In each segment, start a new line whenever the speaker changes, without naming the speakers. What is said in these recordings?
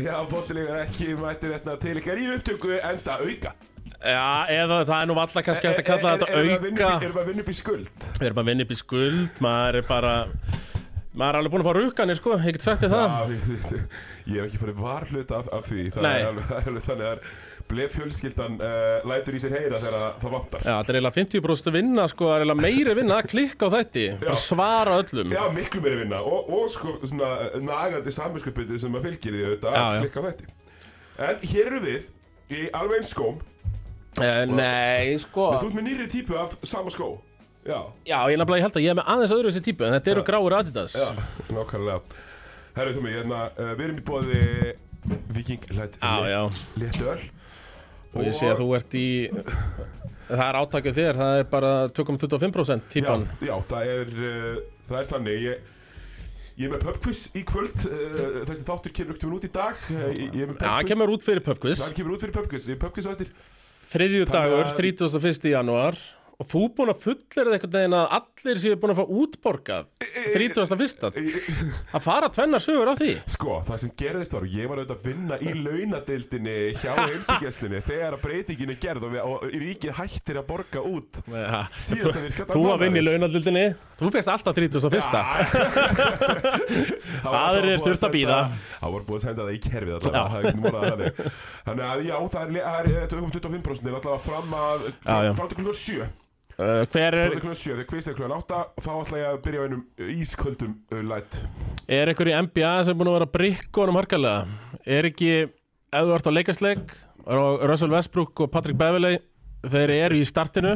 Já, bóttilegur ekki mættir þetta til ykkar í upptöku enda auka
Já, eða það er nú valla kannski hægt að kalla
Er- er-
þetta
er- Erum við
auka
að vinna upp í- erum við að vinna upp í skuld?
Við erum að vinna upp í skuld Maður er bara Maður er alveg búin að fá rukkanir sko, ég get sagt þér það
Já, ég- ég- ég hef ekki farið varhlut af, af því Það
Nei.
er alveg, það er alveg þannig að blef fjölskyldan uh, lætur í sér heyra þegar að það vantar
Já, þetta er eiginlega 50% vinna sko, það er eiginlega meiri vinna að klikka á þetta Bara svara öllum
Já, miklu meiri vinna og, og sko svona eh, nagandi samvinskupbytti sem að fylgir því auðvitað
Já,
að
já.
klikka á þetta En hér eru við í alveg eins skóm
Eh, Nei, sko
Þú ert með nýri típu af sama skó Já,
Já, ég er nefnilega, ég held að ég er með aðeins öðru þessi típu En þetta eru gráir Adidas
já, nákvæmlega Herru, Tómi, hérna, uh, við erum í bóði Viking Læt
Já, já,
Léttöl
og ég sé að þú ert í Það er átakið þér, það er bara 2,25%
Já,
típan
já, það er, uh, það er þannig ég, ég er með pubquiz í kvöld uh, Þessi þáttur kemur ekki út í dag eh, Ég, ég er með
Já, hann
pubquiz
kemur út fyrir pubquiz
Það kemur út fyrir pubquiz, ég er pubquiz á eftir
Þriðju dagur,
Þannig að-
31. janúar Og þú búin að fullera einhvern veginn að allir séu búin að fá útborgað
Eh,
31. Að fara tvennar sögur á því
Sko, það sem gerðist var, ég var auðvitað að vinna í launadeildinni hjá heimsíkjæslinni þegar að breytingin er gerð og, við, og ríkið hættir að borga út
Ja, þú,
Síðasta virka dag
þú að vinna í
mánaðarins.
launaldildinni Þú fegst alltaf 31.
Það var
Aðrir
alltaf búið
þurftu að
senda-
bíða.
Það var búið að senda það í kerfið allavega það er ekki múlað að þannig. Þannig að já, það er, eh, það er 25% er allavega fram að
Já, já.
frá til klukkan 7
Uh, hver
frá
er,
til klukkan 7 þegar kvist er klukkan 8 og þá ætla ég að byrja á einum ísköldum uh, læt
er einhver í NBA sem er búin að vera brikkonum harkalega? Er ekki, ef þú ert á leikasleik og Russell Westbrook og Patrick Beverley þeir eru í startinu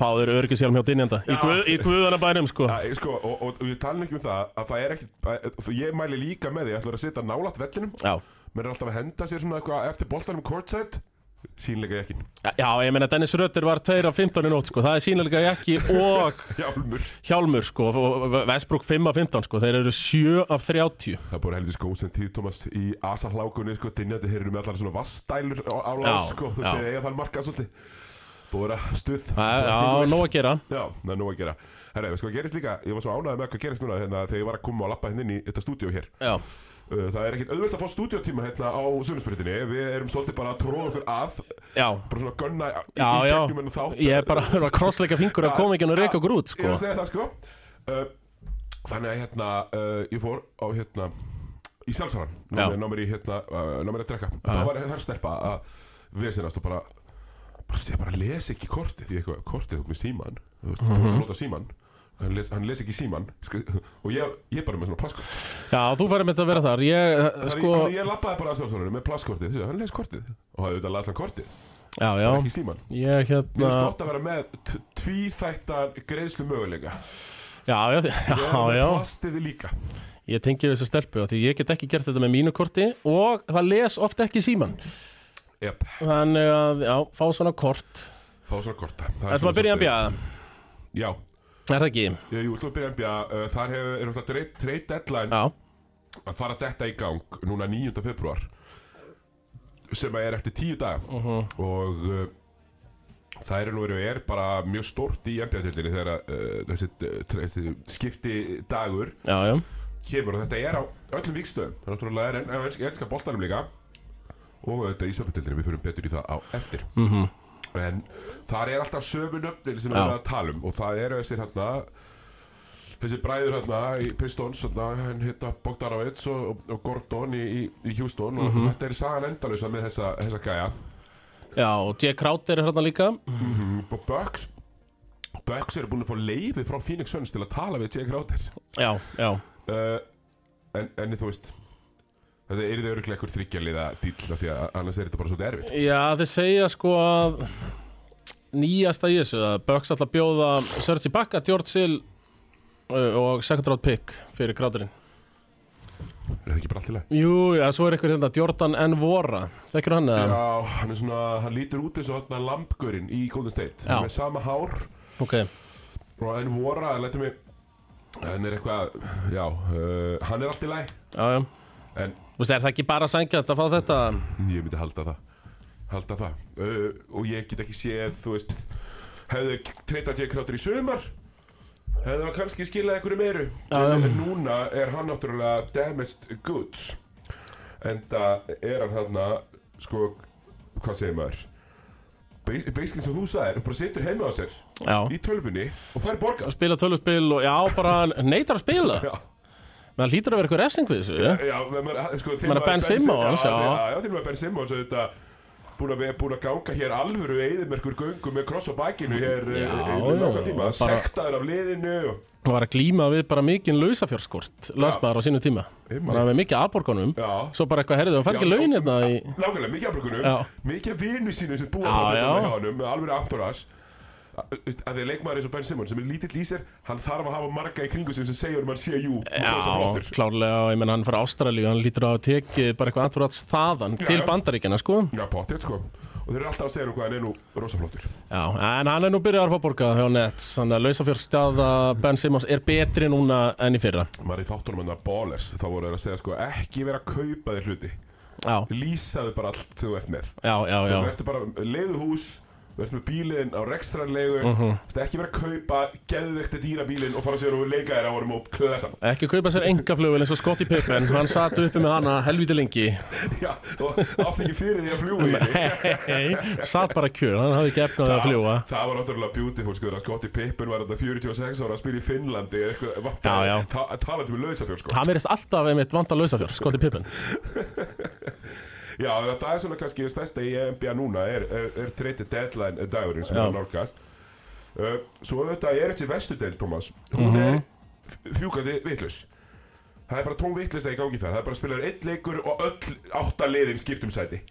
fá þeir öryggisjálm hjá dynjanda í, guð, í guðana bænum sko
Æ, sko, og, og, og ég tala ekki um það að það er ekki að, ég mæli líka með því ætlar að sitja nálat vellinum
Já,
menn er alltaf að henda sér svona eitthvað eftir boltanum courtside sínleika ekki
Já ég meina Dennis Rötter var 2 af 15 í nótt sko það er sínilega ekki og
hjálmur
hjálmur sko og Westbrook 5 af 15 sko þeir eru 7 af 30
Það búið heldur skóð sem tíð Thomas í asahlákunni sko, dynjandi þeir eru með allar svona vastælur á, á lás
Já,
sko, þú
já.
veist, þeir eiga þann markað svolítið búið að stuð
Það er á nóg að gera
Já, það er nóg að gera Herra, sko, gerist líka, ég var svo ánægð með hvað gerist núna hérna, þegar ég var að koma og lappa hérna inn í þetta stúdíó hér
Já,
Uh, Það er ekkert auðvelt að fá stúdíótíma hérna á Sunnusbyrðinni Við erum svolítið bara að tróða okkur að
já
bara svona að gunna í,
Já,
í
já,
gegnum en þátt
ég er bara að vera að krossleika fingur að koma ekki og reyka okkur
Ég er
út sko
að segja það sko uh, Þannig að hérna uh, Ég fór á hérna Í sjálfsvaran
Já.
Ná mér í hérna uh, Ná mér að drekka Það var þar stelpa að Vesinast og bara Bara sé bara les ekki kortið Því eitthvað Kortið þú með síman Þú
Mhm.
veist þú ert að nota síman Hann les, hann les ekki síman skal, Og ég, ég bara með svona plasskort
Já, þú færi með þetta að vera þar Ég, sko,
sko, Þannig ég lappaði bara að sjálfsvaran Með plasskortið þessu, Hann les kortið Og það auðvitað las hann kortið
já, já
Ekki síman Mér
Ég, hérna,
finnst gott að vera með tvíþættar greiðslu möguleika
já, já, já, já
Plastið líka
Ég tengi við þessu stelpu af Því ég get ekki gert þetta með mínu korti Og það les oft ekki síman
Jep,
Þannig að, já, fá svona kort
fá svona korta Það
Þetta maður byrja að bjaða
Já,
Er það ekki?
ég ég ætlum að byrja að byrja uh, Þar hefur, er náttúrulega trade deadline
Já,
að fara detta í gang núna 9. februar sem að er eftir tíu daga
Mhm.
og uh, það er nú verið er bara mjög stórt í NBA-tildinni þegar að, uh, þessi, uh, tre- þessi skipti dagur
já, já
kemur og þetta er á öllum vikstöðum það er náttúrulega er enn en, en, ennska boltanum líka og þetta í sjöfnutildinni við fyrir betur í það á eftir -hmm. en þar er alltaf sömu nöfnir sem við
Já.
erum að tala um og það eru þessir hérna þessi bræður hérna í Pistons hérna, hann hérna Bogdanovits og, og- og Gordon í, í, í Houston og þetta er sagan endalösa með þessa, þessa gæja
Já, og J. Crowder er hérna líka
og Bucks Bucks eru búin að fá leifi frá Phoenix Suns til að tala við Jake Crowder
Já, já
uh, en, en þú veist Þetta er þau öruglega einhver þryggjaliða dýll af því að annars er þetta bara svolítið erfitt
Já, þeir segja sko að nýjasta í þessu að Bucks ætla að bjóða Sergi Bakka, George Hill uh, og second round pick fyrir gráturinn.
Er það ekki bara allt í lagi?
Jú, já, svo er eitthvað hérna Jordan N. Vora, þekkir hann eða?
Já, hann er svona, hann lítur út eins og hann lampgörinn í Golden State
Já.
Hann er Með sama hár
Ok,
og hann vora, hann letur mig Hann er eitthvað, já, uh, hann er allt í lagi
já, já.
En
Þú veist, er það ekki bara sangjant að fá þetta?
ég myndi halda það Halda það uh, Og ég get ekki séð, þú veist Hefðu treytað ég kráttur í sumar Hefðu hann kannski skilað einhverju meiru
Já, já.
En núna er hann náttúrulega damaged goods en það er hann hann sko, hvað segir maður Bas- basically sem þú sagðir, bara situr heima á sér
Já,
í tölfunni og fær borgað
spila tölvuspil og já, bara neytar að spila
Já,
menn hlýtur að vera eitthvað refsing við þessu
já, menn maður, sko,
Meina Ben Simmons,
já
já.
Já, já, til og með Ben Simmons, þetta búin að, vera- búin að ganga hér alvöru eðimerkur göngu með kross á bakinu hér já, yfir
já,
langan tíma,
bara-
sektaður af liðinu og,
og var að glíma við bara mikinn lausafjárskort landsmaður á sínu tíma
Einmitt.
hann hafði mikið afborgunum
Já.
svo bara eitthvað herðið, hann fær ekki
Já,
laun
já.
hérna í...
Nákvæmlega, mikið
Já.
afbrökunum, mikið af vinu sínum sem búa
Já,
það þetta
já.
hjá honum, með alveg afturás að því að leikmaður eins og Ben Simmons sem er lítill í sér, hann þarf að hafa marga í kringu sem sem segja um hann sé jú
já, klárlega og ég menn hann fær Ástralíu hann lítur á að teki bara eitthvað anturats þaðan
Já,
til
já.
bandaríkjana sko
Já, potið sko Og þeir eru alltaf að segja um hvað hann er nú rosaflóttur
já, en hann er nú byrjað að fá borgað hjá Nets hann að lausafjárstaða Ben Simmons er betri núna enn í fyrra
Maður í þáttunum hann að Ballers Þá voru þeir að segja sko Ekki vera að kaupa þér hluti
já,
Lýsaðu bara allt sem þú ert með
já, já, já.
Þú ertu bara leiðu hús Þú ert með bílinn á rekstrarlegu uh
Mhm.
Ekki vera að kaupa Geðvekti dýra bílinn Og fara sér og leika þér á honum og klöða saman
ekki kaupa sér engaflugul eins og Scottie Pippen hann sat uppi með hana helviti lengi
Já, og átti ekki fyrir því að fljúa í henni
hei, sat bara kjör hann hafði ekki efnaði að fljúa
Það var náttúrulega beautiful sko þegar Scottie Pippen var þetta 46 ára að spila í Finnlandi eða eitthvað vantaði-
Já, já.
ta- talandi með lausafjör sko
hann verðist alltaf einmitt sko, vanda lausafjör Scottie Pippen
Já, það það er svona kannski það stærsta í NBA núna er, er, er treytið deadline dagurinn sem
Já.
er nálgast uh, Svo þetta er þessi vestudel, Thomas Hún
Mhm.
er fjúkandi vitlaus Það er bara tóm vitlaus að ég gangi þar Það er bara að spila einn leikur og öll átta liðin skiptum sæti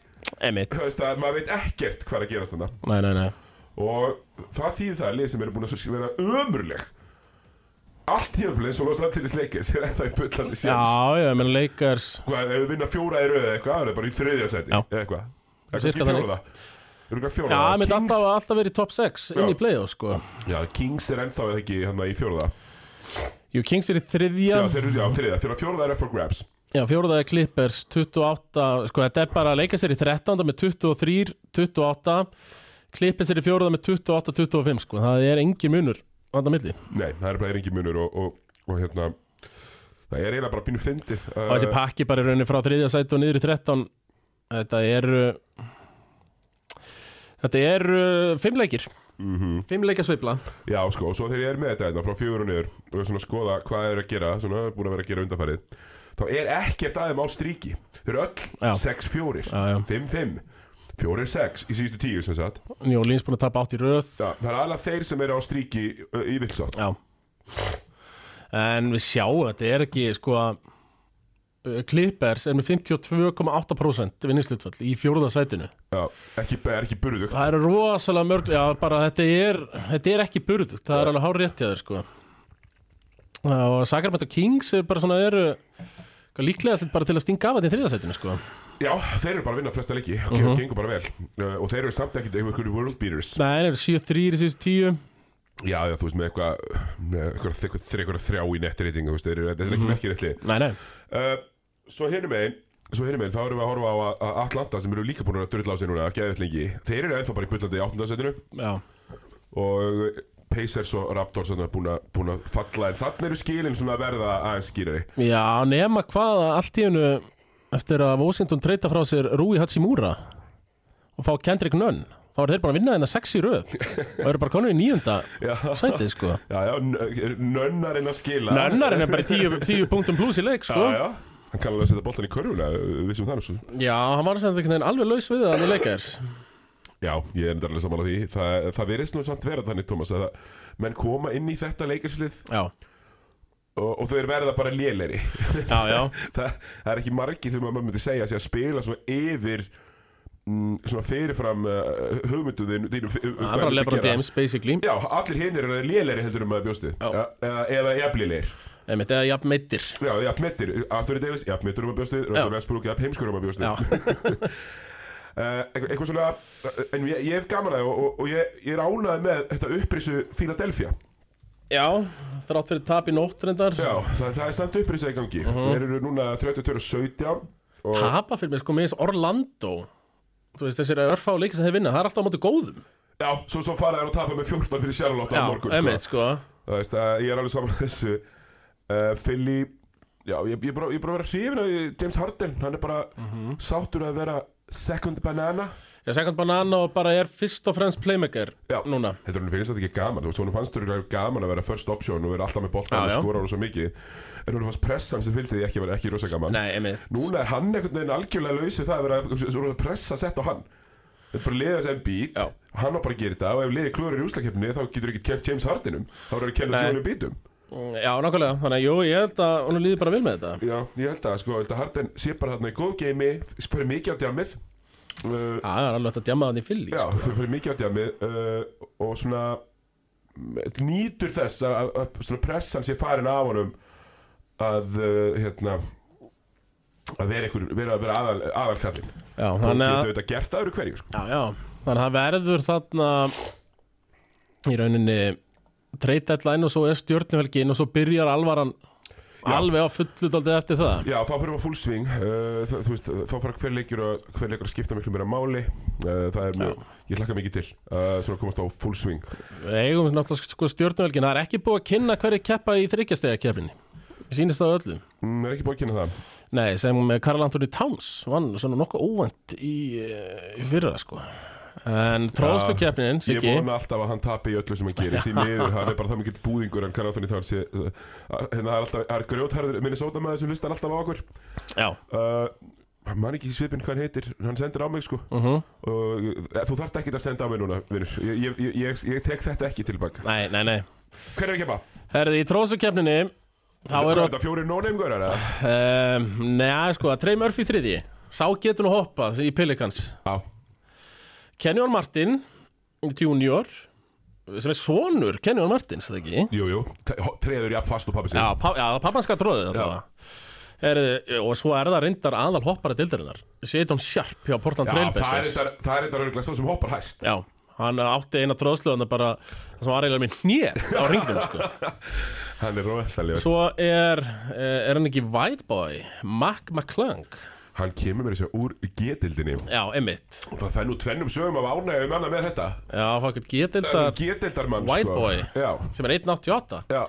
einmitt
Þú veist að maður veit ekkert hvað er að gerast þannig
nei, nei, nei
Og það þýðir það að lið sem eru búin að svo- vera ömurleg Allt tímafélagin svo Los Angeles Lakers er þetta í bullandi sjans
Já, já, ég meina Lakers
Hvað, ef við vinna fjóra í röð eða eitthvað, það er bara í þriðja seti
Já.
eða eitthvað. Það er kannski
Sirka þannig.
fjóraða. Það eru eitthvað
Já,
fjóraða.
það myndi alltaf, alltaf verið í top 6 inn
Já.
í playoff, sko
Já, Kings er ennþá eða ekki hann í fjóraða.
Jú, Kings er í
Já,
þriðja
þeir eru já, þriðja. Þegar fjóraða er for grabs.
Já, fjóruða er Clippers 28 Sko, þetta er bara Lakers er í 13 með 23, 28 Clippers er í fjóruða með 28, 25 sko. Það er engin munur Þannig að milli
Nei, það er bara er engin munur og, og, og hérna, það er eiginlega bara bínu fyndið. uh,
Og þessi pakki bara er rauninni frá þriðja sæti og niður í 13 Þetta er uh, Þetta er uh, Fimm leikir
Mhm.
Fimm leikja sveifla
Já, sko, og svo þegar ég er með þetta hérna frá fjögur og niður og svona skoða hvað þeir eru að gera, svona búin að vera að gera undanfærið, þá er ekkert aðeim á stríki. Þeir eru
Já.
öll 6-4,
Já, já.
5-5, 4-6 í síðustu tíu sem sagt.
New Orleans búin að tapa átt í röð
Já, það er alveg þeir sem eru á stríki ö, í vilsátt
Já En við sjáum þetta er ekki sko að uh, Clippers er með 52,8% vinningslutfall í fjóruða sætinu
Já, ekki, er ekki burðugt
Það er rosalega mörg Já, bara þetta er, þetta er ekki burðugt Það er alveg hár rétt hjá þér sko Já, Og Sacramento Kings er bara svona eru hvað líklegast bara til að stinga af þetta í þriða sætinu sko
Já, þeir eru bara að vinna flesta leiki og mm gengur bara vel uh, og þeir eru samt ekkert einhverjum world beaters
Nei, það eru 7-3 í síðust 10
Já, já, þú veist með eitthvað með eitthvað eitthvað- þeir- eitthvað þrjá í nettriðing þeir eru, þetta er ekki merkirilli
Nei, nei,
uh, Svo hinum einn Svo hinum einn, þá erum við að horfa á að- að Atlanta sem eru líka búin að drulla á sig núna að geða lengi Þeir eru ennþá bara í bullandi í áttundarsætinu
já
og Pacers og Raptors þarna búin að- búin að falla en þannig eru skilin svona að verða aðeins skýrari
Já, nema hvað að allt í hennu eftir að Washington treyta frá sér Rui Hachimura og fá Kendrick Nunn þá er þeir bara að vinna þeirna sex í röð og eru bara konur í nýjunda
Já,
sætið sko
já, já nö- nönnarinn að skila
Nönnarinn er bara í tíu, tíu punktum pluss í leik sko
Já, já Hann kann alveg að setja boltan í körfuna, við sem þannig svo
Já, hann var sem þetta alveg laus við það að leika þér
Já, ég er endarlega sammála því Þa, Það verðist nú samt vera þannig, Tómas að það- menn koma inn í þetta leikirslið
Já,
og, og þeir verða bara léleri
já, já
það, það er ekki margir sem að maður myndi segja sé að spila svo yfir mm, svona fyrirfram uh, hugmyndu þín, þínum uh,
Það er bara Lebron James basically
Já, allir hinir eru léleri heldur um að bjóstu
Já.
eða eða jafnlélegir
Einmitt, eða jafn meittir
Já, jafnmettir, Anthony Davis, jafnmettur um að bjóstu Russell Westbrook, jafn heimskur um að bjóstu
Já,
Uh, eitthvað eitthvað svona uh, en ég, ég hef gaman að því og, og, og ég, ég er ánaði með þetta upprisu Philadelphia
já þrátt fyrir tap í nótt reyndar
já, það, það er samt upprisu í gangi uh þeir eru núna 32-17 og
Tapa fyrir mig sko með þess Orlando Þú veist, þessir örfá leiki sem þeir vinna það er alltaf á móti góðum
já, svo, svo fara þeir og tapa með 14 fyrir Charlotte á morgun
einmitt
sko.
sko
það veist að ég er alveg saman með þessu uh, Eh, Philly Já, ég ég er bara, ég er bara að vera hrifin af James Harden Hann er bara sáttur að vera second banana
Ég segja hann bara annað og bara er fyrst og fremst playmaker
Já.
núna
Þetta hún finnst þetta ekki gaman, þú veist, hún fannst þetta gaman að vera first option og vera alltaf með
Já,
boltan og
já.
skora rosa mikið En hún fannst pressan sem fylgdi því ekki, var ekki rosa gaman
Nei, emi
Núna er hann einhvern veginn algjörlega laus við það að vera svo rosa pressa sett á hann Þetta er bara liðið sem bít,
Já.
hann var bara að gera þetta og ef liðið klúður í úslakefni þá getur ekki kemd James Hardinum Þá eru að kenna
Nei.
sjónu bítum
Já, nákvæmlega, þannig að jú, ég held að hún líði bara vel með þetta
Já, ég held að, sko, ég held að Harden sé bara þarna í góð geimi, fyrir mikið á djamið uh,
Já, það er alveg hægt að djama þannig fylg
Já, þau fyrir mikið á djamið uh, og svona mm, nýtur þess að, að- að svona pressan sé farin af honum að uh, hérna að vera, einhver, vera, vera aðal, aðalkallin
Já,
og
þannig
geta
að
auðvitað gert það eru hverju sko.
Já, já, þannig að það verður þarna í rauninni treyta eitthvað inn og svo er stjórnuhelgin og svo byrjar alvaran alveg á fullu daldið eftir það
Já, þá fyrir við að fullsving uh, þú veist, þá fara hver leikur að, hver leikur að skipta miklu meira máli uh, það er mjög, ég hlakka mikið til uh, svona að komast á fullsving
Við eigum náttúrulega sko stjórnuhelgin það er ekki búið að kynna hverju keppa í þryggjastega keppinni sýnist það á öllum
mm, er ekki búið að kynna það
Nei, sem eh, Karl Anthony Towns vann svona nokkuð óvænt í, eh, í fyrra sko en tróðslu keppnin,
Ég
Siggi
vona alltaf að hann tapi í öllu sem hann gerir Því miður, hann er bara það mikill búðingur En Karl Anthony Towns sé- að- Hérna það er alltaf, það er grjótharður Minnesota maður sem listan alltaf á okkur
Já,
uh, Hann man ekki í svipinn hvað hann heitir Hann sendir á mig sko
mhm
og, e, Þú þarft ekki að senda á mig núna, vinnur ég, ég, ég, ég, ég tek þetta ekki tilbaka
Nei, nei, nei
Hver er ekki bara?
Herði, í tróðslu keppninni þá
Hvað
er
er þetta fjóri no-name-gaurar? eða?
Um, Nei, sko, Trey Murphy þriði Sá getur nú hoppað í Pelicans
Já,
Kenyon Martin, junior sem er sonur Kenyon Martin, það ekki
jú, jú Te- ho- Treður jafn fast og pappi sig
Já, pa já pappanska tróðið alltaf Herði, og svo er það reyndar aðal hoppara deildarinnar Seiton Sharp hjá Portland
það er
Trailblazers
þetta Það er þetta rauglega svo sem hoppar hæst
Já, hann átti eina tróðsluðan bara, það sem var eiginlega minn hnét á ringnum sko.
Hann er rosalega
Svo er, eh, er hann ekki White Boy, Mac McClung
Hann kemur mér þessu úr getildinni
Já, emitt
Og það fennu tvennum sögum af ánægjum annað með þetta
Já, fokkur getildar
G-deildarmann
White
sko.
boy.
Já,
sem er 1.88
já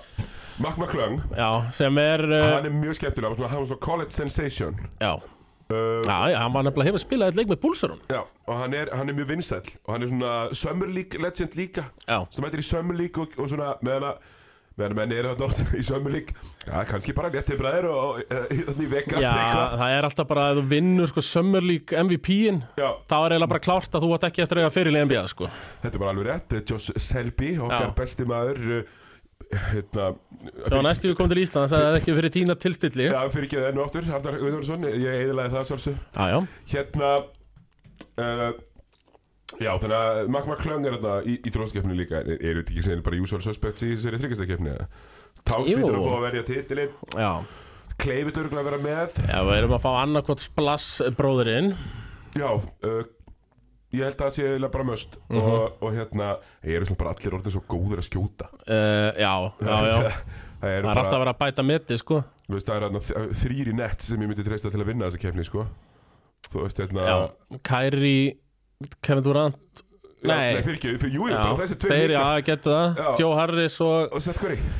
Mark McClung,
Já, sem er uh,
hann er mjög skemmtilega svona- Hann var svona college sensation
Já,
uh,
já, já, hann var nefnilega hefur spilað eitt leik með púlsarun
Já, og hann er, hann er mjög vinsæll Og hann er svona Summer League legend líka
Já,
Sem hættir í Summer League og, og svona Meðan að meðan að menn eru þarna oft í Summer League Já, kannski bara léttið bræður og eh, Þannig í Vegas
já
eitthvað.
það er alltaf bara að þú vinnur sko Summer League MVP-in
Já,
þá er eiginlega bara klárt að þú átt ekki eftir að eiga fyrir í NBA sko
þetta er bara alveg rétt Eh, Josh Selby, okkar
Já.
besti maður eh, Hérna
Svo næstu við komum til Íslands að það er ekki fyrir tína tilstilli Já,
Já, fyrir ekki það enn og aftur Arnar Guðjónsson, ég eðilaði það sjálfsög
já,
hérna uh, Já, þannig að Mark McClung er þarna í, í dróðskeppni líka En er þetta ekki sem bara usual suspects í þessari þryggastakkeppni?
Jú.
Tánsvítur að fá að verja titilinn
já
Kleifit örgulega að vera með
Já, við erum að fá annarkot splass bróðurinn
Já, uh, ég held að það sé eiginlega bara möst
Mhm.
og, og hérna, ég er svona bara allir orðin svo góðir að skjóta
uh, Já, já, já
Það er
Það er alltaf að
bara,
vera að bæta meti sko
þú veist, það er þarna þrýri nett sem ég myndi treysta til að vinna þessa keppni, sko Þú veist, hérna
Já, Kyrie, Kevin Durant
Já,
Nei.
nei fyrir ekki, fyrir, jú, jú,
Já,
bara þessi tveir
þeir,
líka.
já, getur það
Já.
Joe Harris og,
Og sett hverju?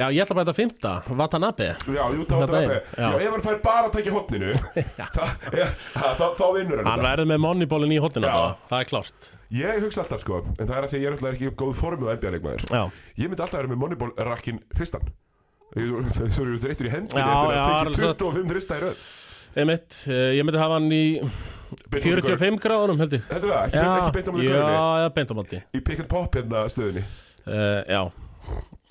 já, ég ætla að bæta fymta Watanabe
Já, jú, þá
Þarna
það
er,
er
já.
Já, ef hann fær bara að taka hotninu þá- já, þá, þá vinnur hann
Hann
þetta.
verður með monnibólin í hotninu
Já.
það, það er klárt
Ég hugsa alltaf, sko, en það er að því að ég er alltaf ekki í góð formu á NBA-leikmaður
Já,
Ég myndi alltaf vera með Moneyball-rakkin fyrstan Svo eru þreyttur í hendin
Já,
eftir
já,
að
alveg
tekið
satt.
25 þrista í röð
einmitt, eh, ég myndi hafa hann í 45 gráðunum held ég
Heldur það, ekki,
Já,
beint- ekki beint á mjög
já,
græni
já, beint á móti
Í pick and pop hérna stöðunni
uh, Já,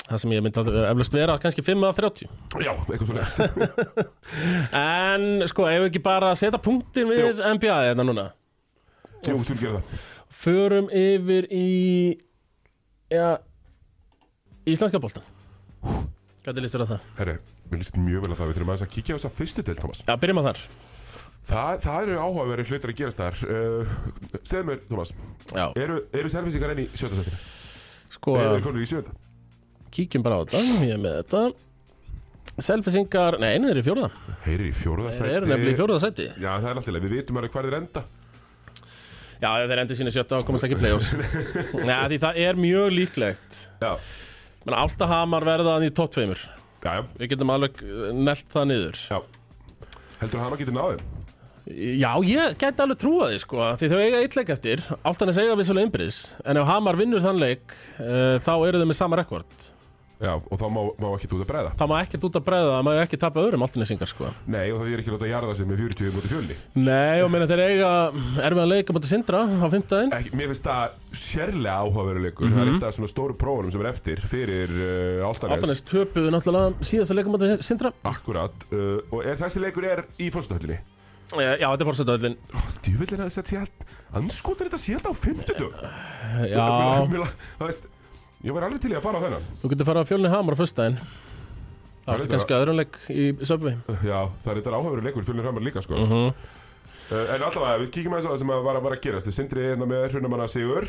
það sem ég myndi að eflust vera kannski 5 af 30
Já, eitthvað svona
En sko, ef við ekki bara að setja punktin við
Jú.
NBA þetta hérna núna
Jú, þú vil gera það
Förum yfir í Já Íslenska bóltan Hvernig líst þér að það?
Herre, mér líst mjög vel að það Við þurfum aðeins að kíkja á þess að fyrstu del, Thomas
Já, byrjum að þar
Það, það eru áhugaveri hlutir að gerast þar uh, Segðu mér, Thomas
Já,
Eru, eru selvisingar enn í sjötta setinu?
sko
Nei, þeir konur í sjönda
kíkjum bara á þetta, ég er með þetta Selfisingar, nei, einu þeir eru í fjórða
Þeir eru í fjóruða
Þeir eru nefnilega í fjórða sæti
Já, það er alltaf leið, við vitum alveg hvað þeir enda
Já, ef þeir endur sína sjötta og komast ekki í play-offs Já, því það er mjög líklegt
Já,
Men Áltahamar verða hann í topp tveimur
já, já,
Við getum alveg eh, nelt það niður
já Heldur hann að geta náðið?
Já, ég gæti alveg trúa því sko Því þau eiga eitt leik eftir Áltanes eiga vissulega einbyrðis En ef Hamar vinnur þann leik uh, Þá eru þau með sama rekord
Já, og þá má, má ekki út að bregða
Það má ekkert út að bregða Það má ekki tapa öðrum áltanesingar sko
Nei, og það er ekki að láta að jarða sig með 40 múti fjölni
Nei, og meina þeir eiga Erfiðan leik á móti sindra á fimmtæðin
ekki, Mér finnst það sérlega áhugaveruleikur Það
Mhm.
er eitt af svona stóru prófunum sem er eftir fyrir uh, Altanes
Áltanes töpuðu náttúrulega síðasta leikum á móti sindra
Akkurat, uh, og er, þessi leikur er í fórstahöllinni
Eh, Já, þetta er fórsetavöllin
Djúvill er að setja sér Anskotin er þetta sér þetta á 50
Já,
Það veist Ég var alveg til í að fara á þennan
þú getur farið á fjölni Hamar á föstudaginn Það
er
er
þetta-
kannski öðrum leik í söpvi
Já, það er þetta áhugaveruleikur fjölnir hramar líka sko uh, En allavega, við kíkjum aðeins á það sem að var að var að gerast Þið sindri hérna með hrunamanna Sigur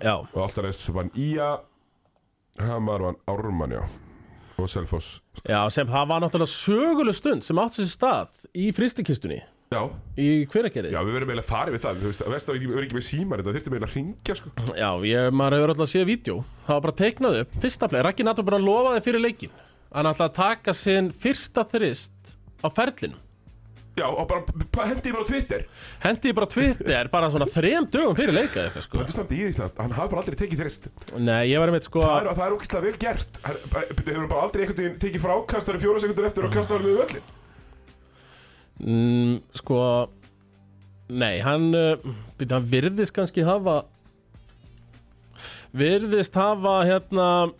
Já,
Og Altanes vann Ía Hamar vann Ármann, já Og Selfoss
Já, sem það var náttúrulega söguleg stund sem átti sér stað í fristikistunni
Já,
í hveragerði.
Já, við verðum eiginlega farið við það, þú veist, að veist að við verðum ekki með símar þetta, þurftum eiginlega að ringja, sko.
Já, ég, maður hefur alltaf séð vídeo. Það var bara teiknað upp, fyrsta play, Raggi Nato bara lofaði fyrir leikin. Hann ætlaði að taka sinn fyrsta þrist á ferlinum.
Já, og bara b- b- hendi ég bara á Twitter.
Hendi bara á Twitter, bara svona þrem dögum fyrir leika eða eitthvað sko.
Þetta er samt í Ísland, hann hafi bara aldrei tekið þrist.
Nei, ég var einmitt sko
Það er, það er ógæslega vel gert. Hann bara- byrju, hefur hann bara aldrei einhvern veginn tekið frákastari fjóra sekundur eftir og kastaði hann við öllin.
mm, sko nei, hann uh, byrja, hann virðist kannski hafa virðist hafa hérna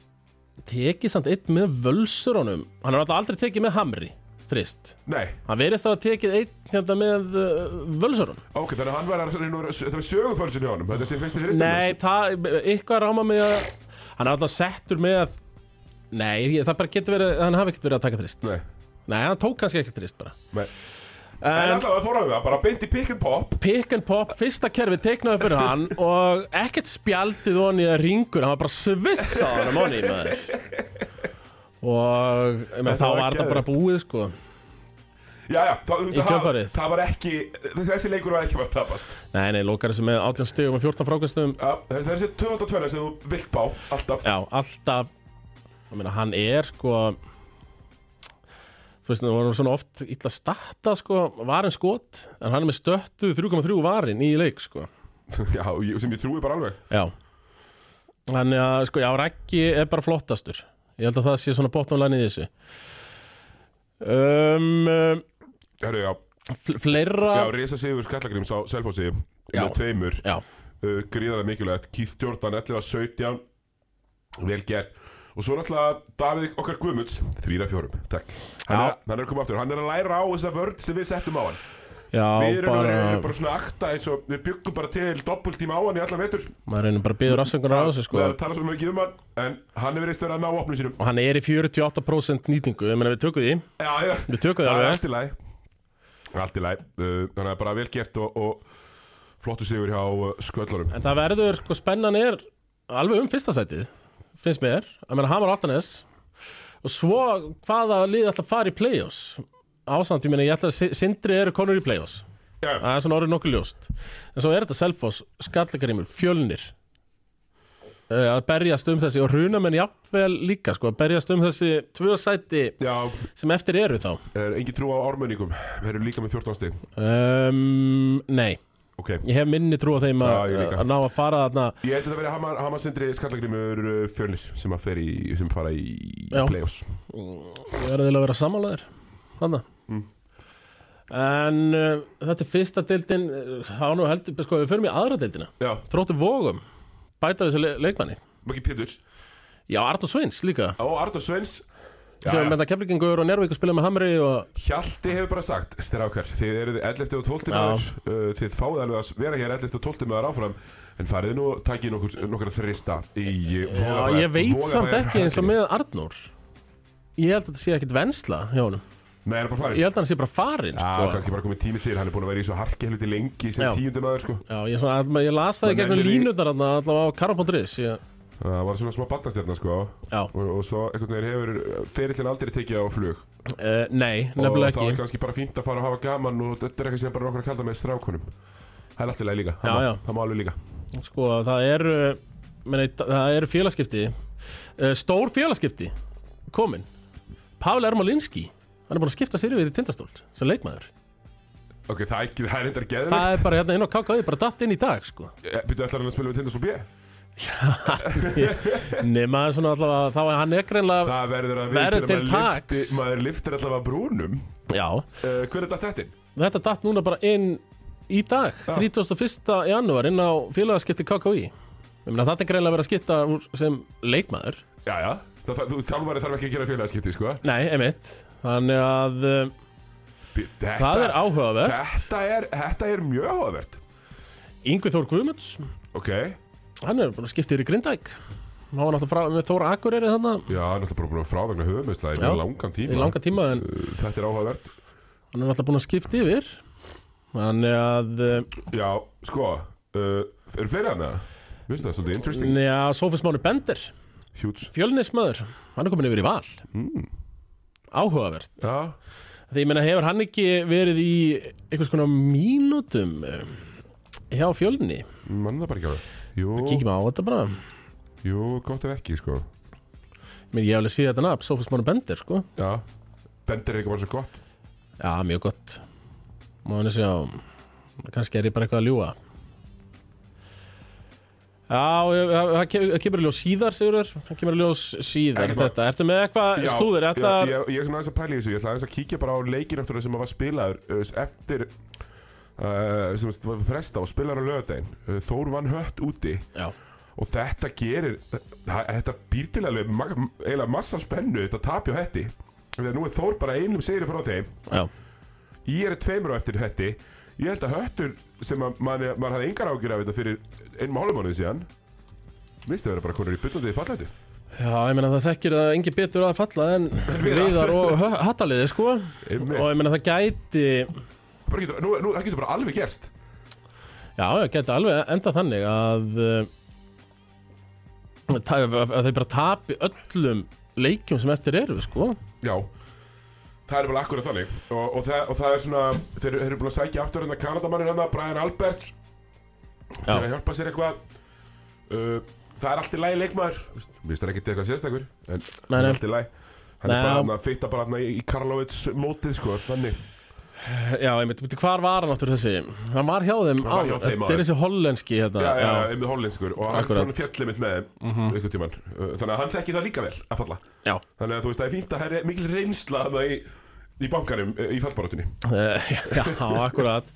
tekið samt eitt með völsurunum hann er alltaf aldrei tekið með hamri þrist,
Nei,
hann virðist hafa tekið eitt hérna með uh, völsurunum
ok, þannig að hann var að reyna að vera, það var sögufölsun hjá honum, þetta er sem fyrsti þristum.
nei, það, eitthvað ráma mig að hann er alltaf settur með nei, ég- það bara getur verið hann hafi ekkert verið að taka þrist,
Nei,
nei, hann tók kannski ekkert þrist bara
nei. En
en,
allavega það fór á við, bara beint í pick and pop.
pick and pop, fyrsta kerfi teiknaði fyrir hann og ekkert spjaldið honi að ringur, hann var bara svissað hann um honi með og
Þetta
menn, þá
var
var þetta
geðveikt.
bara búið sko
Já, já, það, þú veist,
Í
það,
kjölfarið.
það var ekki, þessi leikur var ekki að tapast.
nei, nei, lókar þessu með 18 stigum og 14 frákastum
Já, þessi 22 sem þú vilt bá, alltaf.
já, alltaf ég meina, hann er sko þú veist, það var svona oft illa starta sko, varin skot en hann er með stöttu 3,3 varin í leik sko
Já, ég- sem ég trúi bara alveg.
Já Þannig að sko, já, Raggi er bara flottastur Ég held að það sé svona bottom line í þessu um, um,
Herru, já,
fl- Fleira
já, Risa Sigur Skallagrims á Selfossi
Já.
með tveimur,
já,
uh, gríðarlega mikilvægt Keith Jordan 11 17 vel gert og svo náttúrulega Davíð okkar Guðmunds 3-4, takk hann
Já.
er, hann er komið aftur, hann er að læra á þessa vörð sem við settum á hann
já
við erum bara,
bara,
bara svona akta eins og við byggum bara til doppeltíma á hann í allan vetur
Maður reynir bara að byggja rassangunar á þessu sko
við tala svo mikið um hann en hann hefur reist verið að ná opnum sínum
Og hann er í 48% nýtingu Ég meina við tökum því
já, já,
Við tökum því
það er
alveg
allt í læg allt í læg, uh, þannig að bara vel gert og, og flottu sigur hjá uh, sköllurum
En það verður sko spennan er Alveg um fyrsta sætið Finnst mér Ég meina Hamar Altanes Og svo hvaða lið ætla að fara í play-offs Ásamt, ég meina ég ætla að Si- Sindri eru konur í play-offs
já, já.
Það er svona orðið nokkuð ljóst En svo er þetta Selfoss, Skallakarímur, Fjölnir eh, Að berjast um þessi Og runamenn jafnvel líka sko, Að berjast um þessi tvö sæti
Já,
Sem eftir eru þá
er engin trú á ármönningum Við erum líka með 14 stig
um, Nei,
Ok Ég
ég hef minni trú á þeim
Já,
að,
ég líka.
að ná að fara þarna
held að þetta verið Hamar, Hamar Sindri Skallagrimur uh, Fjölnir sem að fer í, sem fara í
Já.
play-offs
Ég er að vera sammálaðir Þarna
Mm.
En uh, þetta er fyrsta deildin eh, Það var nú heldur, sko, við förum í aðra deildina
Já,
Þróttu vógum, bæta þessi le leikmanni
Maggi Péturs
Já, Artur Sveins líka
Og Artur Svens Já,
sem
já.
mennta keflingur og Njárvík og spila með Hamri og
Hjalti hefur bara sagt, strákar, þið eruð 11. og 12.
Já.
maður, uh, þið fáið alveg að vera hér 11. og 12. maður áfram, en farið nú og takið nokkur, nokkur þrista í
Já, ég veit samt ekki eins og með Arnór Ég held að þetta sé ekkit vensla hjá honum
Nei, hann er bara
Ég
farið Já,
held að hann sé bara farinn sko.
kannski bara komið tími til, hann er búin að vera í svo harki helviti lengi sem
Já.
tíundum maður, sko
Já, ég, svona, ég las það í
Menn
gegnum
nennir í-
línundar allavega á Karopondris Já,
Það var svona smá battastjarnar, sko og, og svo einhvern veginn hefur ferillin aldrei tekið á flug
uh, nei,
og
nefnilega
það er
ekki
kannski bara fínt að fara og hafa gaman og þetta er eitthvað sem bara okkur að kalda með strákunum það er alltaf leið líka, það
Já,
má-
já.
það má alveg líka
Sko, það eru meni, það eru félagskipti uh, Stór félagskipti eh, komin Pavel Ermolinski hann er búin að skipta sér yfir í tindastól sem leikmaður
Ok, það er ekki, það er eitthvað geðvikt
það er bara hérna inn á KKði, bara datt inn í dag sko.
Býtu Eh, ætlar hann að spila við Tindastól B?
nema svona allavega þá er hann er greinlega
Það verður að
Verður
viðurkenna,
til
maður
taks.
lyfti- Maður liftir allavega brúnum
já,
uh, Hver er þetta þetta?
þetta datt núna bara inn í dag, 31. janúar inn á félagaskipti KKI Ég meina, þetta er greinlega verið að skipta úr sem leikmaður
Já, já Það, það, þú þjálfari þarf ekki að gera félagaskipti, sko
nei, emitt þannig að uh,
B- Þetta,
það er áhugaverð
þetta er, þetta er mjög áhugavert
Yngvi Þór Guðmunds,
Ok, já,
hann er búin að skipta yfir í Grindæk hann var náttúrulega frá, með Þór Akureyri þannig
hann er alltaf bara búin að frá vegna höfumveisla í
Já,
mjög langan tíma
í langa tíma en
Uh, Þetta er áhugavert
hann er náttúrulega búin að skipta yfir þannig að uh,
Já, sko, uh, eru fleiri hann það? Vistu það, svolítið interesting
já, Sófus Máni Bender
Huge
fjölnismöður, hann er komin yfir í val
mm.
áhugaverð
Já,
Því ég meina hefur hann ekki verið í einhvers konar mínútum eh, hjá fjölni
mann það bara ekki á það Jú,
Kíkjum á þetta bara
jú, gott ef ekki, sko
Ég meina ég hef alveg séð þetta nafn, Sofus Mánu Bender sko
Já, bendir er ekki bara svo gott
Já, mjög gott Má hann að segja kannski er ég bara eitthvað að ljúga Já, ég- það það ke- það kemur í ljós síðar, Sigurður Það kemur í ljós síðar
Ertu
þetta,
bara-
Ertu með eitthvað
Já,
slúður?
ég,
Þetta
ég, ég er svona aðeins að pæla í þessu Ég ætla aðeins að kíkja bara á leikin eftir það sem að var spilaður uh, eftir uh, sem sagt, var fresta og spilaður á lögadaginn uh, Þór vann hött úti
Já,
og þetta gerir þa- þetta býr til alveg ma- eiginlega massa spennu þetta tapi á hetti Þegar nú er Þór bara einum segri frá þeim
já,
Ég er tveimur á eftir hetti Ég held að höttur sem að mann man hafði engar ágjur af þetta fyrir einum hálfmánuði síðan misti að vera bara konur í byllandi fallættu
já, ég meina það þekkir það engi betur að falla en viðar og hattaliði sko
Einmitt.
Og ég meina það gæti
Bara getur- nú- nú- Það getur bara alveg gerst
Já, já, geti alveg enda þannig að, uh, ta- að þeir bara tapi öllum leikjum sem eftir eru, sko.
Já Það er bara akkurat þannig og, og, það, og það er svona Þeir þeir eru búin að sækja aftur hérna Kanadamannir hérna Brian Alberts Þeir eru að hjálpa sér eitthvað uh, Það er allt í lægi leikmaður Vist, Mér finnst það ekki til eitthvað sérstakur En það er
nei.
allt í lægi Hann er
Nei,
bara
já.
hann að fitta bara hann í í Karlovits mótið sko Þannig
Já, ég myndi, hvar var hann áttur þessi? Hann var hjá þeim
Hann var hjá
áður.
þeim
Þetta
áður.
er þessi hollenski hérna.
Já, já, já, með hollenskur Og hann
Akkurat. Mhm.
fór hann fjallið mitt með þeim einhvern tímann Uh, Þannig að hann þekki það líka vel að falla
já.
Þannig að þú veist það er fínt að það er mikil reynsla Þannig í, í bankanum, uh, í fallbarátunni
Eh, já, akkurat.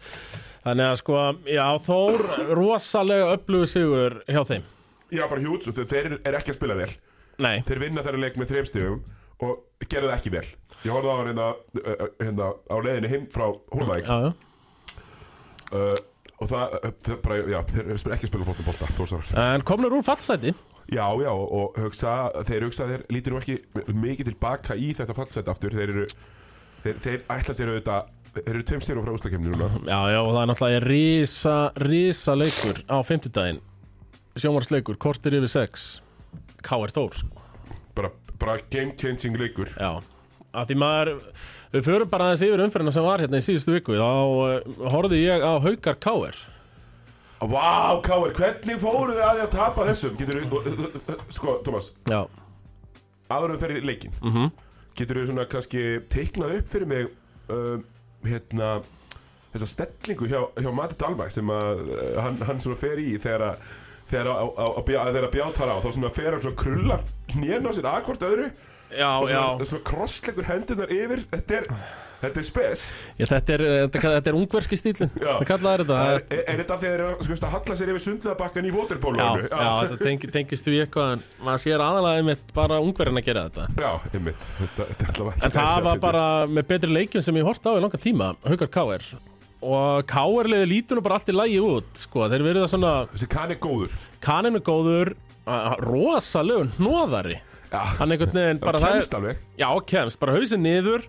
Þannig að sko, já, Þór rosalega upplugur sigur hjá þeim.
Já, bara hjúts og þeir- þeir eru ekki að spila vel
Nei,
þeir vinna þeirra leik með þreim stigum og gerðu það ekki vel ég horfði á hann hérna, uh, hérna á leiðinni heim frá Hólvæk
já, já.
uh, og það, uh, það bara, já, þeir eru ekki að spila fóttum bolta þórsar.
En komnur úr fallsæti.
já, já, og hugsa, þeir hugsa þeir lítur nú ekki mikið tilbaka í þetta fallset aftur, þeir eru þeir, þeir ætla sér auðvitað, þeir eru tveim stigum frá úslakefni núna,
Já, já, og það er náttúrulega risa, risa leikur á fimmtudaginn Sjómarsleikur, kortir yfir sex K.R. Þór, sko
bara, bara game changing leikur
Já, að því maður Við förum bara aðeins yfir umferðina sem var hérna í síðustu viku Þá uh, horfði ég á Haukar K.R.
Vá, Káir, hvernig fóruð þið að því að tapa þessum? Getur, sko, Tómas,
Já,
áður en þú ferð í leikin mm
Mhm.
-hmm. getur þú svona kannski teiknað upp fyrir mig um, hérna þessa stellingu hjá, hjá Mati Dalmæk sem að uh, hann, hann svona fer í þegar að þegar að, að, að, að, að, að bjátar á þá svona fer hann svona krulla hnén á sér akkvort öðru
já,
og
já
svona, svona krosslegur hendunar yfir þetta er, þetta er spes
ég, Þetta er, eh, þetta, þetta er ungverski stílin
Já.
Það kallaði þetta
er, er, er þetta þegar þeir eru sko, að halla sér yfir sundleðabakkan í
Já,
waterpólóinu
já, þetta tengi, tengist við eitthvað En maður sér aðalega einmitt bara ungverðin að gera þetta
já, einmitt þetta, þetta er allavega ekki
En það
að
var
setja.
bara með betri leikjum sem ég hort á í langa tíma, Haukar K.R. Og K.R. liði lítur nú bara allt í lagi út, sko. Þeir verið það svona
þessi kann er góður
kaninu góður, rosalegu hnóðari.
já,
Hann einhvern veginn bara
það
það...
kemst alveg
Já, kemst. Bara hausin niður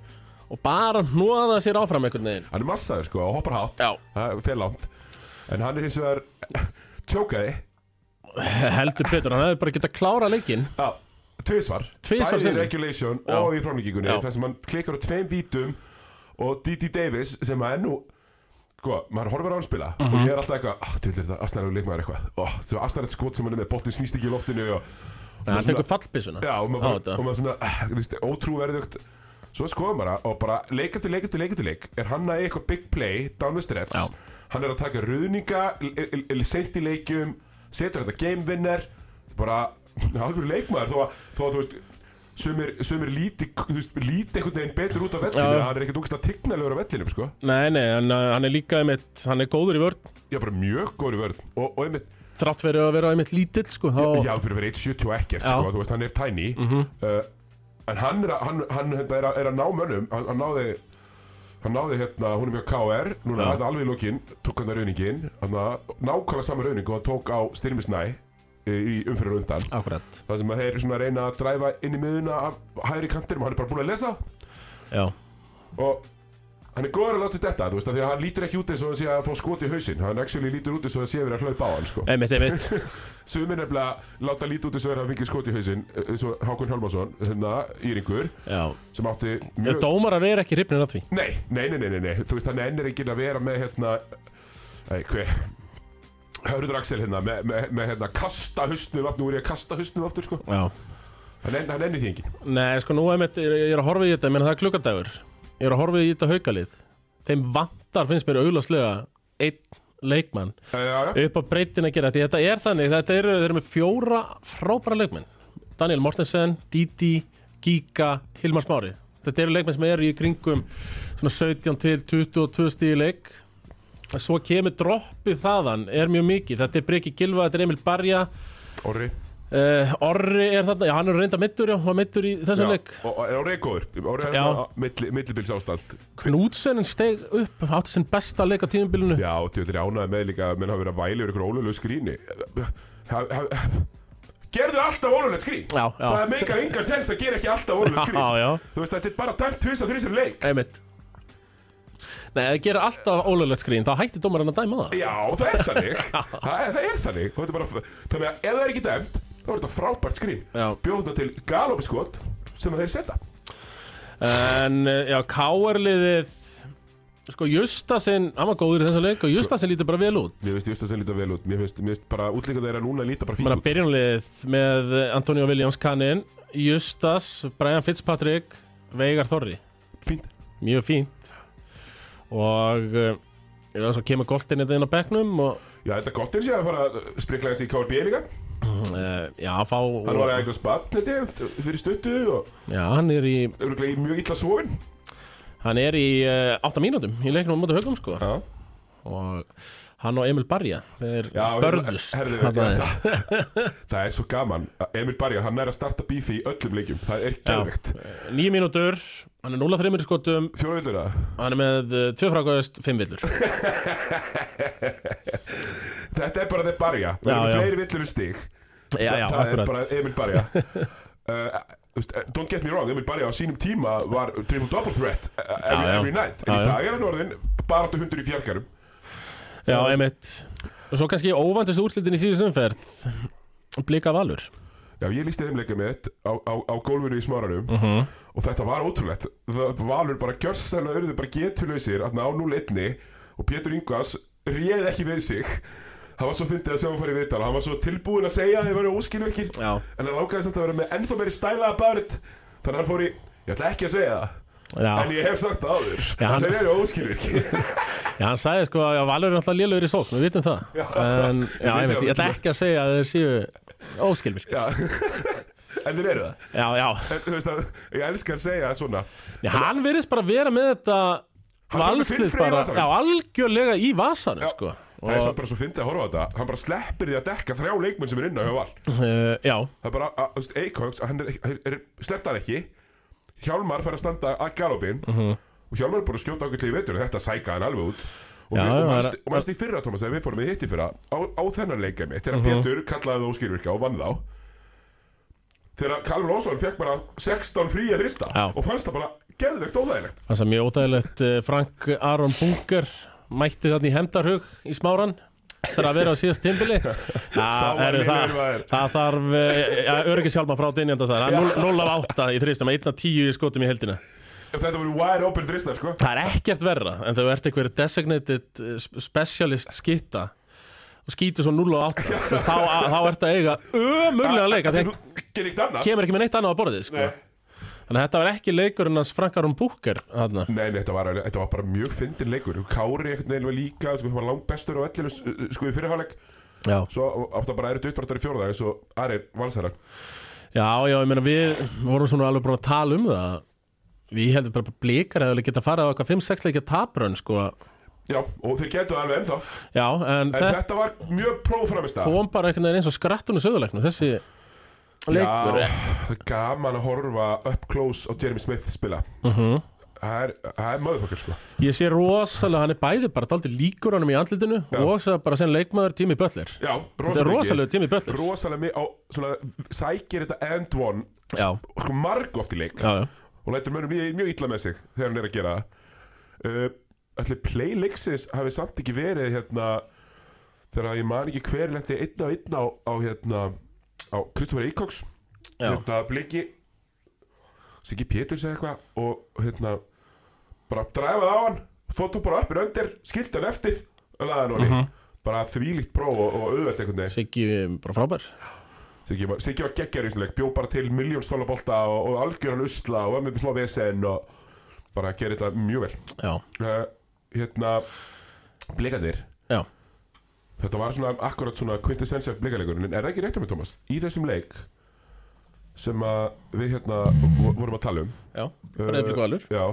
og bara hnóða sér áfram einhvern veginn.
hann er massaður sko og hoppar hátt
Já.
það fer langt en hann er hins vegar tjókaði
Heldur betur, hann hefði bara getað klára leikinn.
já tvisvar
Tvisvar
bæði
sinnum.
í regulation
Já.
og í framlíkingunni
Já.
þar sem hann klikkar á tveim vítum og D.D. Davis sem að ennú sko maður horfir á hann spila
Mhm.
og ég er alltaf eitthvað ah, til þetta Asnarður leikmaður eitthvað oh, þú Asnarður skot sem hann er með boltin snýst ekki í loftinu og
Nei, hann tekur fallbissuna
já og maður
á
bara
þetta.
og maður svona ah, þú veist ótrúverðugt Svo skoðum bara og bara leik eftir leik eftir leik eftir leik Er hann að eitthvað big play down the stretch
Já.
Hann er að taka ruðninga Seint í leikjum Setur þetta game winner Bara alveg leikmaður Þó að, þó að þú veist Sumir, sumir líti, þú veist, líti einhvern veginn betur út af vellinu
Já.
Hann er ekkert úkst að tignalegur á vellinum sko.
Nei, nei, hann, hann er líka einmitt, hann er góður í vörn
Já, bara mjög góður í vörn Og, og einmitt,
Þrátt fyrir að vera einmitt lítill, sko þá,
já, fyrir að vera 1.70 og ekkert
Já. Mhm.
sko, Þú veist, hann er tiny uh, En hann er að, hann, hann, hérna, er, að, er að ná mönnum Hann, hann náði Hann náði hérna, hún er mjög KR Núna,
Já.
þetta alveg í lokin, tók hann að rauningin hann að, Nákvæmlega sama rauning og hann tók á Styrmisnæ í umfyrir undan
Akkurat
Það sem að þeir svona reyna að dræfa inn í miðuna af hægri kantinum, hann er bara búin að lesa
Já,
og hann er góður að láta þetta, þú veist, af því að hann lítur ekki út eins og hann sé að fá skot í hausinn, hann actually lítur út eins og hann sé að vera að hlaupa á hann, sko
einmitt, einmitt
Sumir nefnilega láta lítið út eins og þeir hafa fengið skot í hausinn eh, eins og Hákon Hjálmarsson, hérna, Íringur
Já,
sem átti
Mjö...
mjög...
dómarar er ekki hrifnir að því
Nei, nei, nei, nei, nei, nei, þú veist, hann ennir ekki að vera með, hérna, nei, hver Hörður Axel hérna, með, með, með hérna, kasta hustnum aftur, nú er ég að kasta hustnum aftur, sko
Já
Hann, en, hann ennir því engin
Nei, sko, nú einmitt, ég ég er að horfa í þetta, menn það er klukkadagur Ég er að horfa í þetta haukalið Þeim vantar finnst mér auðlagslega einn leikmann
Já, Eh, já, já,
upp á breytin að gera því þetta er þannig, þetta eru, þeir eru með fjóra frábæra leikmenn Daniel Mortensen, Didi, Giga, Hilmar Smári þetta eru leikmenn sem eru í kringum svona 17 til 22 stíði leik svo kemur droppið þaðan er mjög mikið, þetta er Breki Gilva, þetta er Emil Barja
orri
uh, Orri er þarna, já hann er reynda mittur já, hann var mittur í
Já,
þessum leik
og, og orri er góður, orri er
Já.
hérna, milli, millibils ástand
Knútsen steg upp, átti sinn besta leik á tíðumbilinu
Já, og til þetta ánaði með líka að menn hafa verið að væli yfir ykkur ólulegu skríni ha, ha, Gerðu alltaf ólulegt skrín
Já, já.
Það meikar engan sens að gera ekki alltaf ólulegt skrín
Já, já.
Þú veist, þetta er bara dæmt tvist og þrjusum leik
einmitt Nei, það gerir alltaf ólöglegt skrín, þá hætti dómarinn að dæma það
Já, það er þannig það, er- það er þannig Og þetta er bara, Þannig að ef það er ekki dæmt þá er þetta frábært skrín
Já.
Bjóðna til galopiskot sem að þeir setja
En eh, já, K.R.liðið Sko, Justasinn, hann var góður í þessu leik og
Sko-
Justasinn lítur bara vel út
Mér finnst Justasinn líta vel út Mér finnst, mér finnst bara útlíka þeirra núna líta bara fínt
Bara
út
byrjunliðið um með Antonio Williams kannin Justas, Brian Fitzpatrick Veigar Þorri,
Fínt
mjög fínt og eh, já, svo kemur Goltin þetta inn á bekknum og
Já, þetta er gott eins og ég að fara að spriklaða sig í KRB líka
uh, já, fá
Hann var eitthvað spann, þetta, fyrir stuttu og
já, hann er í,
öruglega mjög illa sofin
hann er í uh, 8 mínútum í leiknum á móti haugum sko
Já,
og hann og Emil Barja þeir
já
börðust
herðu,
þarna
herðu,
aðeins.
það, það er svo gaman Emil Barja, hann er að starta bífi í öllum leikjum Það er
Já.
gerðvegt
Níu mínútur, hann er 0-3 skotum
Fjóruvillur að
Hann er með uh, tvö frákvæðust, fimm villur
Þetta er bara þeir Barja
Já,
Það
já.
eru fleiri villur um stig
Já, já,
Það
akkurat.
er bara Emil Barja uh, þú veist, eh, Don't get me wrong, Emil Barja á sínum tíma var triple double threat eh, every,
Já, já.
every night En
Já,
í
já.
dag er hann orðin bara áttu hundur í fjarkarum
Já, einmitt Og svo kannski óvandist úrslitin í síðust umferð Blika Valur
Já, ég lísti þeim leikja mitt á, á, á gólfinu í smáranum
Mhm.
og þetta var ótrúlegt. Það valur bara gjörsanlega urðu bara getulausir að ná 0-1 og Pétur Ingvars réð ekki við sig. Það var svo fyndið að sjá hann fara í viðtal. Hann var svo tilbúin að segja að þið væri óskilvirkir
Já.
en hann ákvæði samt að vera með ennþá meiri stælaða barnd þannig að hann fór í, ég ætla ekki að segja það.
Já,
En ég hef sagt það áður,
Já, hann-
hann er óskilvirkir
já hann sagði sko að já, Valur er alltaf lélugur í sókn, við vitum það
Já.
En, já,
Ég veit
einmitt,
það
ég ætla
ekki.
ekki að segja að þeir séu óskilvirk Já,
Já. en þeir eru það.
já,
En, þú veist að, ég elskar að segja svona.
já hann virðist bara vera með þetta
Hann er bara með
Valslið
Silfrið í
bara,
vasanum.
já, algjörlega í vasanum sko
Það er
Og,
samt bara svo fyndið að horfa á þetta Hann bara sleppir því að dekka þrjá leikmenn sem er inn á hjá val Það
uh, já,
er bara, að- þú veist, Eikóks Hann er, er, er sleppt hann ekki Hjálmar fær að standa að galopin Og Hjálmar er búin að skjóta ákveðlega í vetur Þetta sækaði hann alveg út Og,
Já,
við, og,
já,
manst,
það er-
og manst í fyrra, Thomas, þegar við fórum í hitti fyrra Á, á þennan leika mitt Þegar Pétur kallaði það óskilvirka og vann þá Þegar Kalvin Ósson fekk bara 16 fríja hrista
Já.
Og fannst það bara geðvegt óþægilegt
fannst það mjög óþægilegt eh, Frank Aron Bunker mætti þarna í hemdarhug í smáran eftir að vera á síðast timbili
Sá
það,
var
er,
minn
það,
örvaður.
það þarf eh, ja, öryggishjálma frá dynjanda þar Það er 0 af 8 í þrýstum, 1 af 10 í skotum í heldina
Þetta voru wide open þristar, sko
það er ekkert verra en þegar þú ert einhver designated eh, specialist skitta og skýtur svo 0 af 8 Þú veist, þá, þá ert að eiga ömurlega leika þegar
Þú gerir ekkert annað
kemur ekki með neitt annað á borðið sko.
Nei.
Þannig að þetta var ekki leikurinn hans Frankarun Búker þarna.
Nei, nei, þetta var, þetta var bara mjög fyndin leikur Kári einhvern veginn var líka sko, hann var langt bestur á ellinu sko, í fyrirháleik
Já,
Svo átt að bara eru duttráttar í fjórða eins og Ari Valsæran
já, já, ég meina við vorum svona alveg búin að tala um það Við heldum bara blíkar eða geta farið á okkar 5-6 leikja taprun sko.
Já, og þeir getu alveg ennþá
Já, en,
En
þetta
þetta var mjög próframist að
kom bara einhvern veginn eins og skrattunum söðuleiknum Þessi leikur
Já, það er gaman að horfa up close á Jeremy Smith spila
Mhm.
Það er, það er möðufokkar sko
Ég sé rosalega, hann er bæði bara daldi líkur honum í andlitinu
Já.
og svo bara sem leikmaður tími böllir
Já,
Þetta
rosalega
er rosalega tími böllir
Rosalega mikið á, svona, sækir þetta end one
Já,
sko, marg oft í leik
já, já
og lætur mönnum líða mjög illa með sig þegar hann er að gera það uh, Ætli play leiksins hafi samt ekki verið hérna þegar ég man ekki hver lendi einn á einn á, á hérna á Kristoffer Eikoks
Já.
hérna bliki Siggi Péturs eða eitthvað og hérna bara dræfaði á hann fótt hún bara uppir undir, skildi hann eftir og laði hann orði bara þvílíkt próf og, og auðvelt einhvern veginn
Siggi bara frábær
Siggi var, Siggi var geggjar í þessum leik, bjó bara til miljón stólabolta og, og algjöran usla og var með smá vesen og bara gerir þetta mjög vel.
Já,
Uh, hérna, blikandir,
já,
þetta var svona akkurat svona quintessential blikaleikur, en er það ekki rétt um mig, Thomas? Í þessum leik sem að við hérna vo- vorum að tala um.
já, bara eða
Uh,
bliku alur
Já,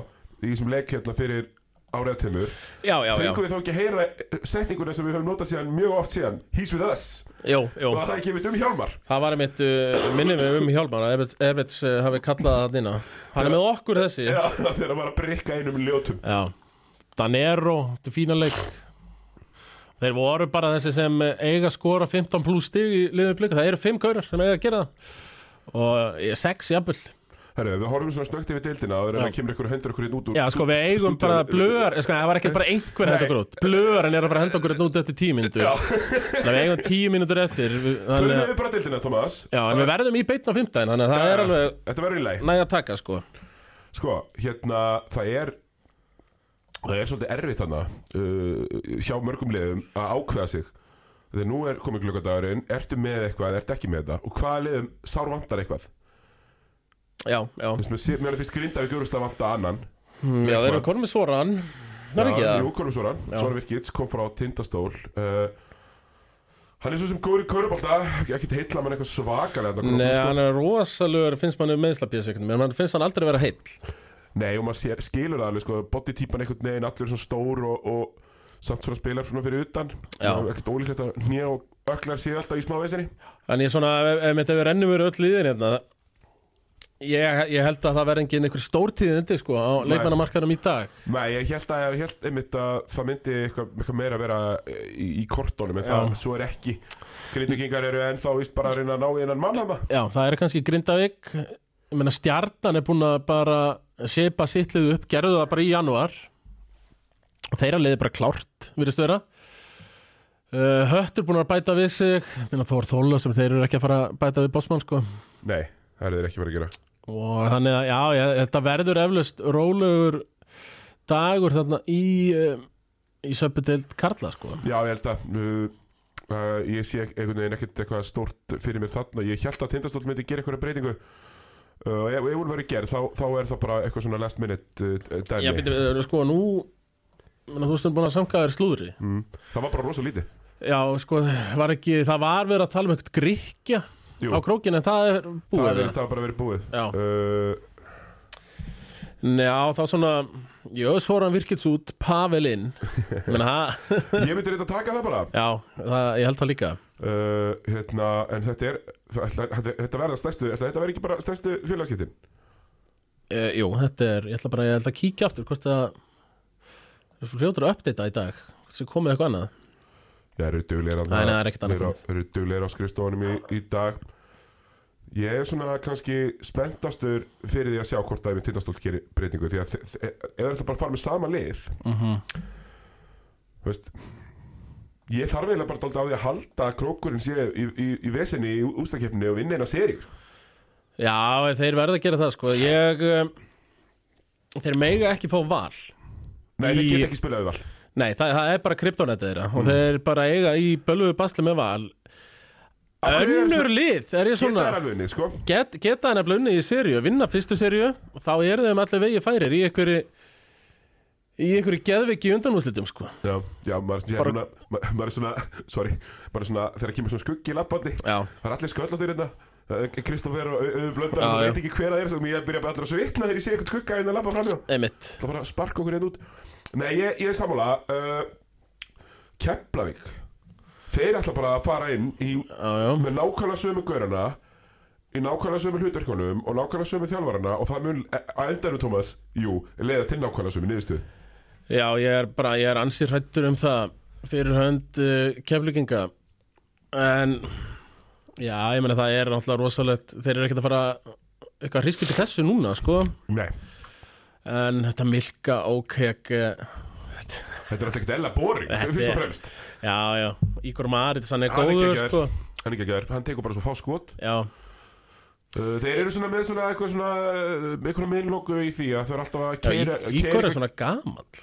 í þessum leik hérna fyrir áriða tömur,
Já, já, já,
fengum við þá ekki að heyra setninguna sem við höfum notað síðan mjög oft síðan, he's with us,
jú, jú
og það er ekki um Hjálmar.
Það var einmitt, uh, minnum við um Hjálmar að Everts- Everts uh, hafi kallað það þína Hann er með okkur þessi
Já, þegar maður að brikka einum ljótum.
Já, Danero, þetta er fína leik Þeir voru bara þessi sem eiga að skora 15 pluss stig í liðum blika Það eru 5 gaurar sem eiga að gera það Og 6 jafnvel
Herru, við horfum svona snögt yfir deildina áður en
Já.
það kemur ykkur og hendur ykkur hérna út úr
Já, sko, við eigum
stúdíóinu.
bara blöðar sko, Það var ekkert bara einhver að henda okkur út Blöðarinn er að fara að henda okkur út eftir tíu mínútur Þannig að við eigum tíu mínútur eftir við-
Tölum
þannig, að-
við bara deildina, Thomas
Já, en við verðum í beitn á fimmtæðin Þannig að það er alveg
Þetta verður í lagi
næg að taka, sko
Sko, hérna, það er Það er svolítið erfitt hana uh, Hjá mörgum liðum að ákveða sig Þegar nú er komið glöggadagurinn Ertu með eitthvað, ertu ekki með þetta Og hvaða liðum sár vantar eitthvað
Já, já,
Þess með sér, mér finnst grinda við gjörust að vanta annan
Mm, já þeir eru konum með svoran Það er ekki
Já,
það
Jú, konum Svoran,
Já.
Svoran Virkits kom frá Tindastól uh, Hann er svo sem góður í körubolta Ekkert heilla mann eitthvað svakalega þarna,
Nei,
sko.
hann er rosalur, finnst manni um meðslapjæs En mann finnst hann aldrei vera heill
Nei, og maður sér, skilur það alveg, sko, bodytýpan einhvern veginn, allir svona stór og, og samt svona spilar svona fyrir utan.
Já.
Og Ekkert ólíklegt að hnjá og öklar séu alltaf í smávesinni.
Þannig ég svona, ef ef þetta við rennum verið öll liðin hérna Ég, ég held að það verði engin einhver stórtíðindi sko á
Nei.
leikmannamarkaðum í dag
Nei, ég held að, ég held einmitt að það myndi eitthvað, eitthvað meira að vera eh, í, í kortónum, en það,
Já.
svo er ekki. Grindugingar eru ennþá víst bara að reyna að ná innan mann hana.
Já, það er kannski Grindavík Ég meina stjarnan er búin að bara Seipa sittlið upp, gerðu það bara í janúar Þeirra liði bara klárt Virðist vera uh, Höttur búin að bæta við sig Ég meina Þór Þóla sem þeir eru ekki að fara að bæta við Bosman sko
Nei, það eru þeir ekki verið að gera.
Og þannig að, já, ég, þetta verður eflaust Rólegur dagur Þarna í um, Í söpudeld Karla sko
Já, ég held að... Uh, Uh, ég sé ek- einhvern veginn ekkert eitthvað stórt fyrir mér þarna ég held að tindastóll myndi gera eitthvað breytingu uh, ef ef hún verið gerð þá, þá er það bara eitthvað svona last minute uh, dæmi
Já, býtum við, sko, nú ég meina, Þú veist, búin að samkaður slúðri
Það var bara rosa lítið
Já, sko, var ekki, það var verið að tala um eitthvað gríkja
Jú.
á krókinu en það er búið
Það
eða?
verðist það bara verið búið
Já.
uh,
Já, þá svona, jú, Svoran virkits út, Pavel inn menn það,
Ég myndi reynda að taka það bara
já, það, ég held það líka
uh, hérna, En þetta er það- ætla- Þetta þetta verða stærstu ætla Þetta verði ekki bara stærstu félagskiptin
e, Jú, þetta er, ég ætla bara, ég ætla að kíkja aftur hvort það, það er fljótur að uppdata í dag hvort sem komið eitthvað annað
Það eru duglegar
Nei, nei, það er ekkert annað komið.
Það eru duglegar á skrifstofunum í, í dag Ég er svona kannski spenntastur fyrir því að sjá hvort að við tindastólt gerir breytingu því að þe- þe- ef það ætla bara að fara með sama lið
mm
þú veist Ég þarf eiginlega bara dálítið á því að halda að krókurinn sé í, í, í vesinni í ústakefni og vinna eina seri sko.
Já, þeir verða að gera það, sko ég, um, þeir mega ekki fá val
Nei, það
Í-
get ekki spilað við val Mm.
Nei, það, það er bara kryptonetið þeirra og þeir bara eiga í bölvuðu basli með val
Af hverju er
Önnur
svona-
lið, er ég
Geta
svona
er að vunni, sko
Get, Geta hann nefnilega unnið í seríu, vinna fyrstu seríu og þá eru þeim allir vegi færir í einhverju í einhverju geðveiki undanúslitum sko
Já, já, maður, ég,
Bara-
bara... maður, maður er svona, sorry Maður er svona, þegar kemur svona skuggi í labbandi
Já.
Það er allir sköll á þér hérna Það er Kristoffer og Auður Blöndal,
Já,
maður
já.
veit ekki hver að er Ég byrja bara allir að svitna þegar ég sé eitthvað skugga hérna að labba framjá
Einmitt
Það bara að sparka okkur hérna út Nei, ég, ég er sammála uh, Keflavík Þeir ætla bara að fara inn í,
Já, já,
með nákvæmlega sömu gaurana Í nákvæmlega sömu hlutverkunum Og nákvæmlega sömu þjálfarana Og það mun, e, að endanum Thomas, jú, leiða til nákvæmlega sömu niðurstöðu
já ég er bara, ég er ansið hrættur um það fyrir hönd uh, kefluginga en já, ég meina það er náttúrulega rosalegt þeir eru ekkert að fara eitthvað hrist upp í þessu núna sko
Nei,
en þetta milka ókek eh,
þetta er alltaf ekkert ella boring
Þetta
Fyrst
er-
og fremst
já, já, Ígor Marit hann er
Hann er
góður
geggjaður.
sko
Hann er ekki að gera, hann tekur bara svo fá skot
já,
Uh, Þeir eru svona með svona eitthvað svona uh, Eitthvað meðlóku í því að þau eru alltaf að
já
keira
Í- Ígor er svona gamall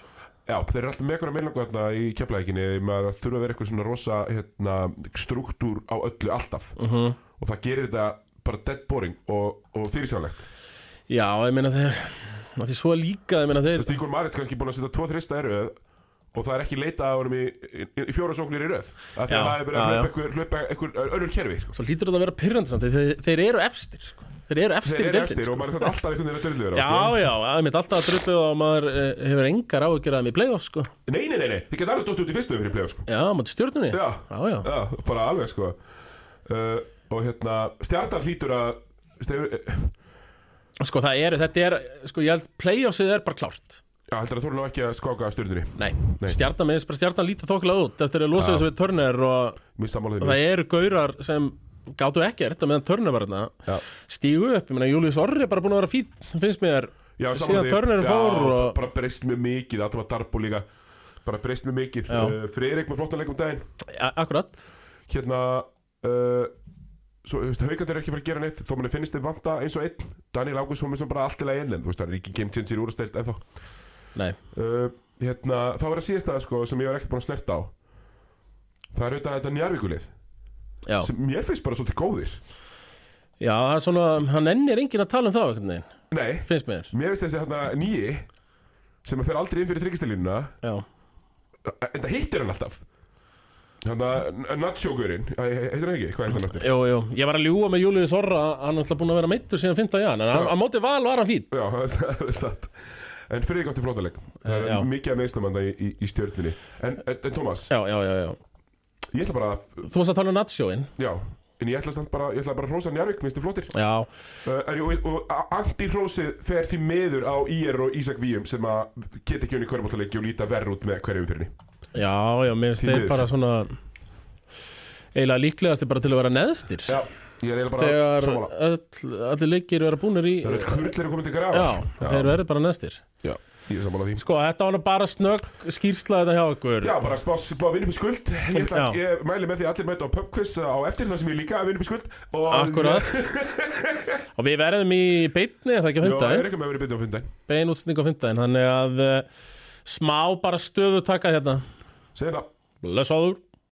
Já, þeir eru alltaf með einhverja meðlöku hérna í keflækinni með að það þurfa að vera eitthvað svona rosa hérna, struktúr á öllu alltaf
Mhm.
-huh. og það gerir þetta bara dead boring og, og fyrirsjánlegt
já, ég meina þeir að því svo líka, ég meina
Þú
þeir
veist, Ígor Marits kannski búin að setja tvo þrista í röð og það er ekki leitað að honum í, í, í fjóra sóknir í röð af því
Já,
að það er verið
já,
að
já.
hlaupa einhver- hlaupa einhver önnur kerfi sko.
svo hlýtur þetta að vera pyrrandi samt þeir, þeir eru efstir sko. þeir eru efstir
Þeir
í
eru
deildinni,
eftir og maður er þarna alltaf einhvern veginn að döllu vera sko.
Já, já, það er mitt alltaf að drullu og maður uh, hefur engar á að gera þeim í playoff sko.
Nei, nei, nei, nei, þið geta alveg dótt út í fyrstu yfir í play sko.
Já, maður stjórnunni
Já,
já, já.
Já, bara alveg sko uh, Og hérna, stjarnar hlýtur að eh, stefur,
Sko það eru, þetta er, sko ég held playoffsið er bara klárt
Já, heldur að þú eru nú ekki að skáka stjörnunni
Nei,
Nei.
stjarnan minnst bara stjarnan lítið þokkilega út eftir að losa
Já.
þessu við törner og
Mér sammála því
það eru gaurar sem gátu ekkert að meðan törner var hérna
Já.
stígu upp, ég meina Július Orri er bara búin að vera fín finnst mér,
Já, sammála
síðan
því.
törner
Já,
fór og,
Bara breyst mjög mikið, Adam að Darbo líka Bara breyst mjög mikið
Já.
uh, Friðrik með flottan leik um daginn
ja, akkurat
Hérna uh, Svo, þú veist, haugat er ekki fyrir að gera neitt Þó manni finnst þeir vanta eins og einn Daniel Ágúst fór mér sem bara allt í lagi inn En þú veist, það er ekki game changer úrstelt ennþá
Nei,
uh, Hérna, þá er að síðast aða sko Sem ég var ekkert búin að snerta á Það er auðvitað þetta njárvíkulið
já,
Sem mér finnst bara svolítið góðir
já, það er svona hann ennir enginn að tala um það einhvern veginn,
Nei,
finnst mér
mér finnst þessi hérna nýi Sem að fer aldrei inn fyrir þryggistilínuna
Já,
en það hittir hann alltaf þannig að Nacho-gurinn æ, heitir hann ekki, hvað heitir hann aftur?
jú, jú, ég var að ljúga með Július Orra hann er alltaf búin að vera meittur síðan 5. jan en hann-
Já.
á móti val var hann fín
já, það er statt en Friðrik átti flótaleg það
Já.
er mikið að meðstamanda í, í, í stjörninni en, en, en Thomas,
Já, já, já, já
ég ætla bara að
Þú varst að tala um Natsjóin
já, en ég ætla samt bara ég ætla bara að hrósa Njarvik, minnst þið flottir
Já,
uh, en, og, og anti-hrósið fer því meður á IR og Ísak Víum sem að geta ekki unni kvörbóttalegi og líta verð út með hverjum fyrirni
já, já, mér finnst
Því
þeir
miður.
bara svona eiginlega líklegast er bara til að vera neðstir
já, ég er eiginlega bara
þegar
sammála
öll, allir leikir vera búnir í
það er hurlir að koma til graf
Já, þeir verður bara neðstir
já, ég er sammála því
Sko, þetta var nú bara snögg skýrsla þetta hjá okkur
Já, bara spá, spá að vinna upp í skuld ég, ætla,
Já.
ég mæli með því að allir mæta á pubquiz á eftir það sem ég líka að vinna upp í skuld og
Akkurat Og við verðum í beinni, er það ekki
Já,
að funda
ég er ekki með að vera byrjað á fundaginn
Bein útsending á funda Þannig að eh, smá bara stöðu taka hérna
Segðu það
Blessaður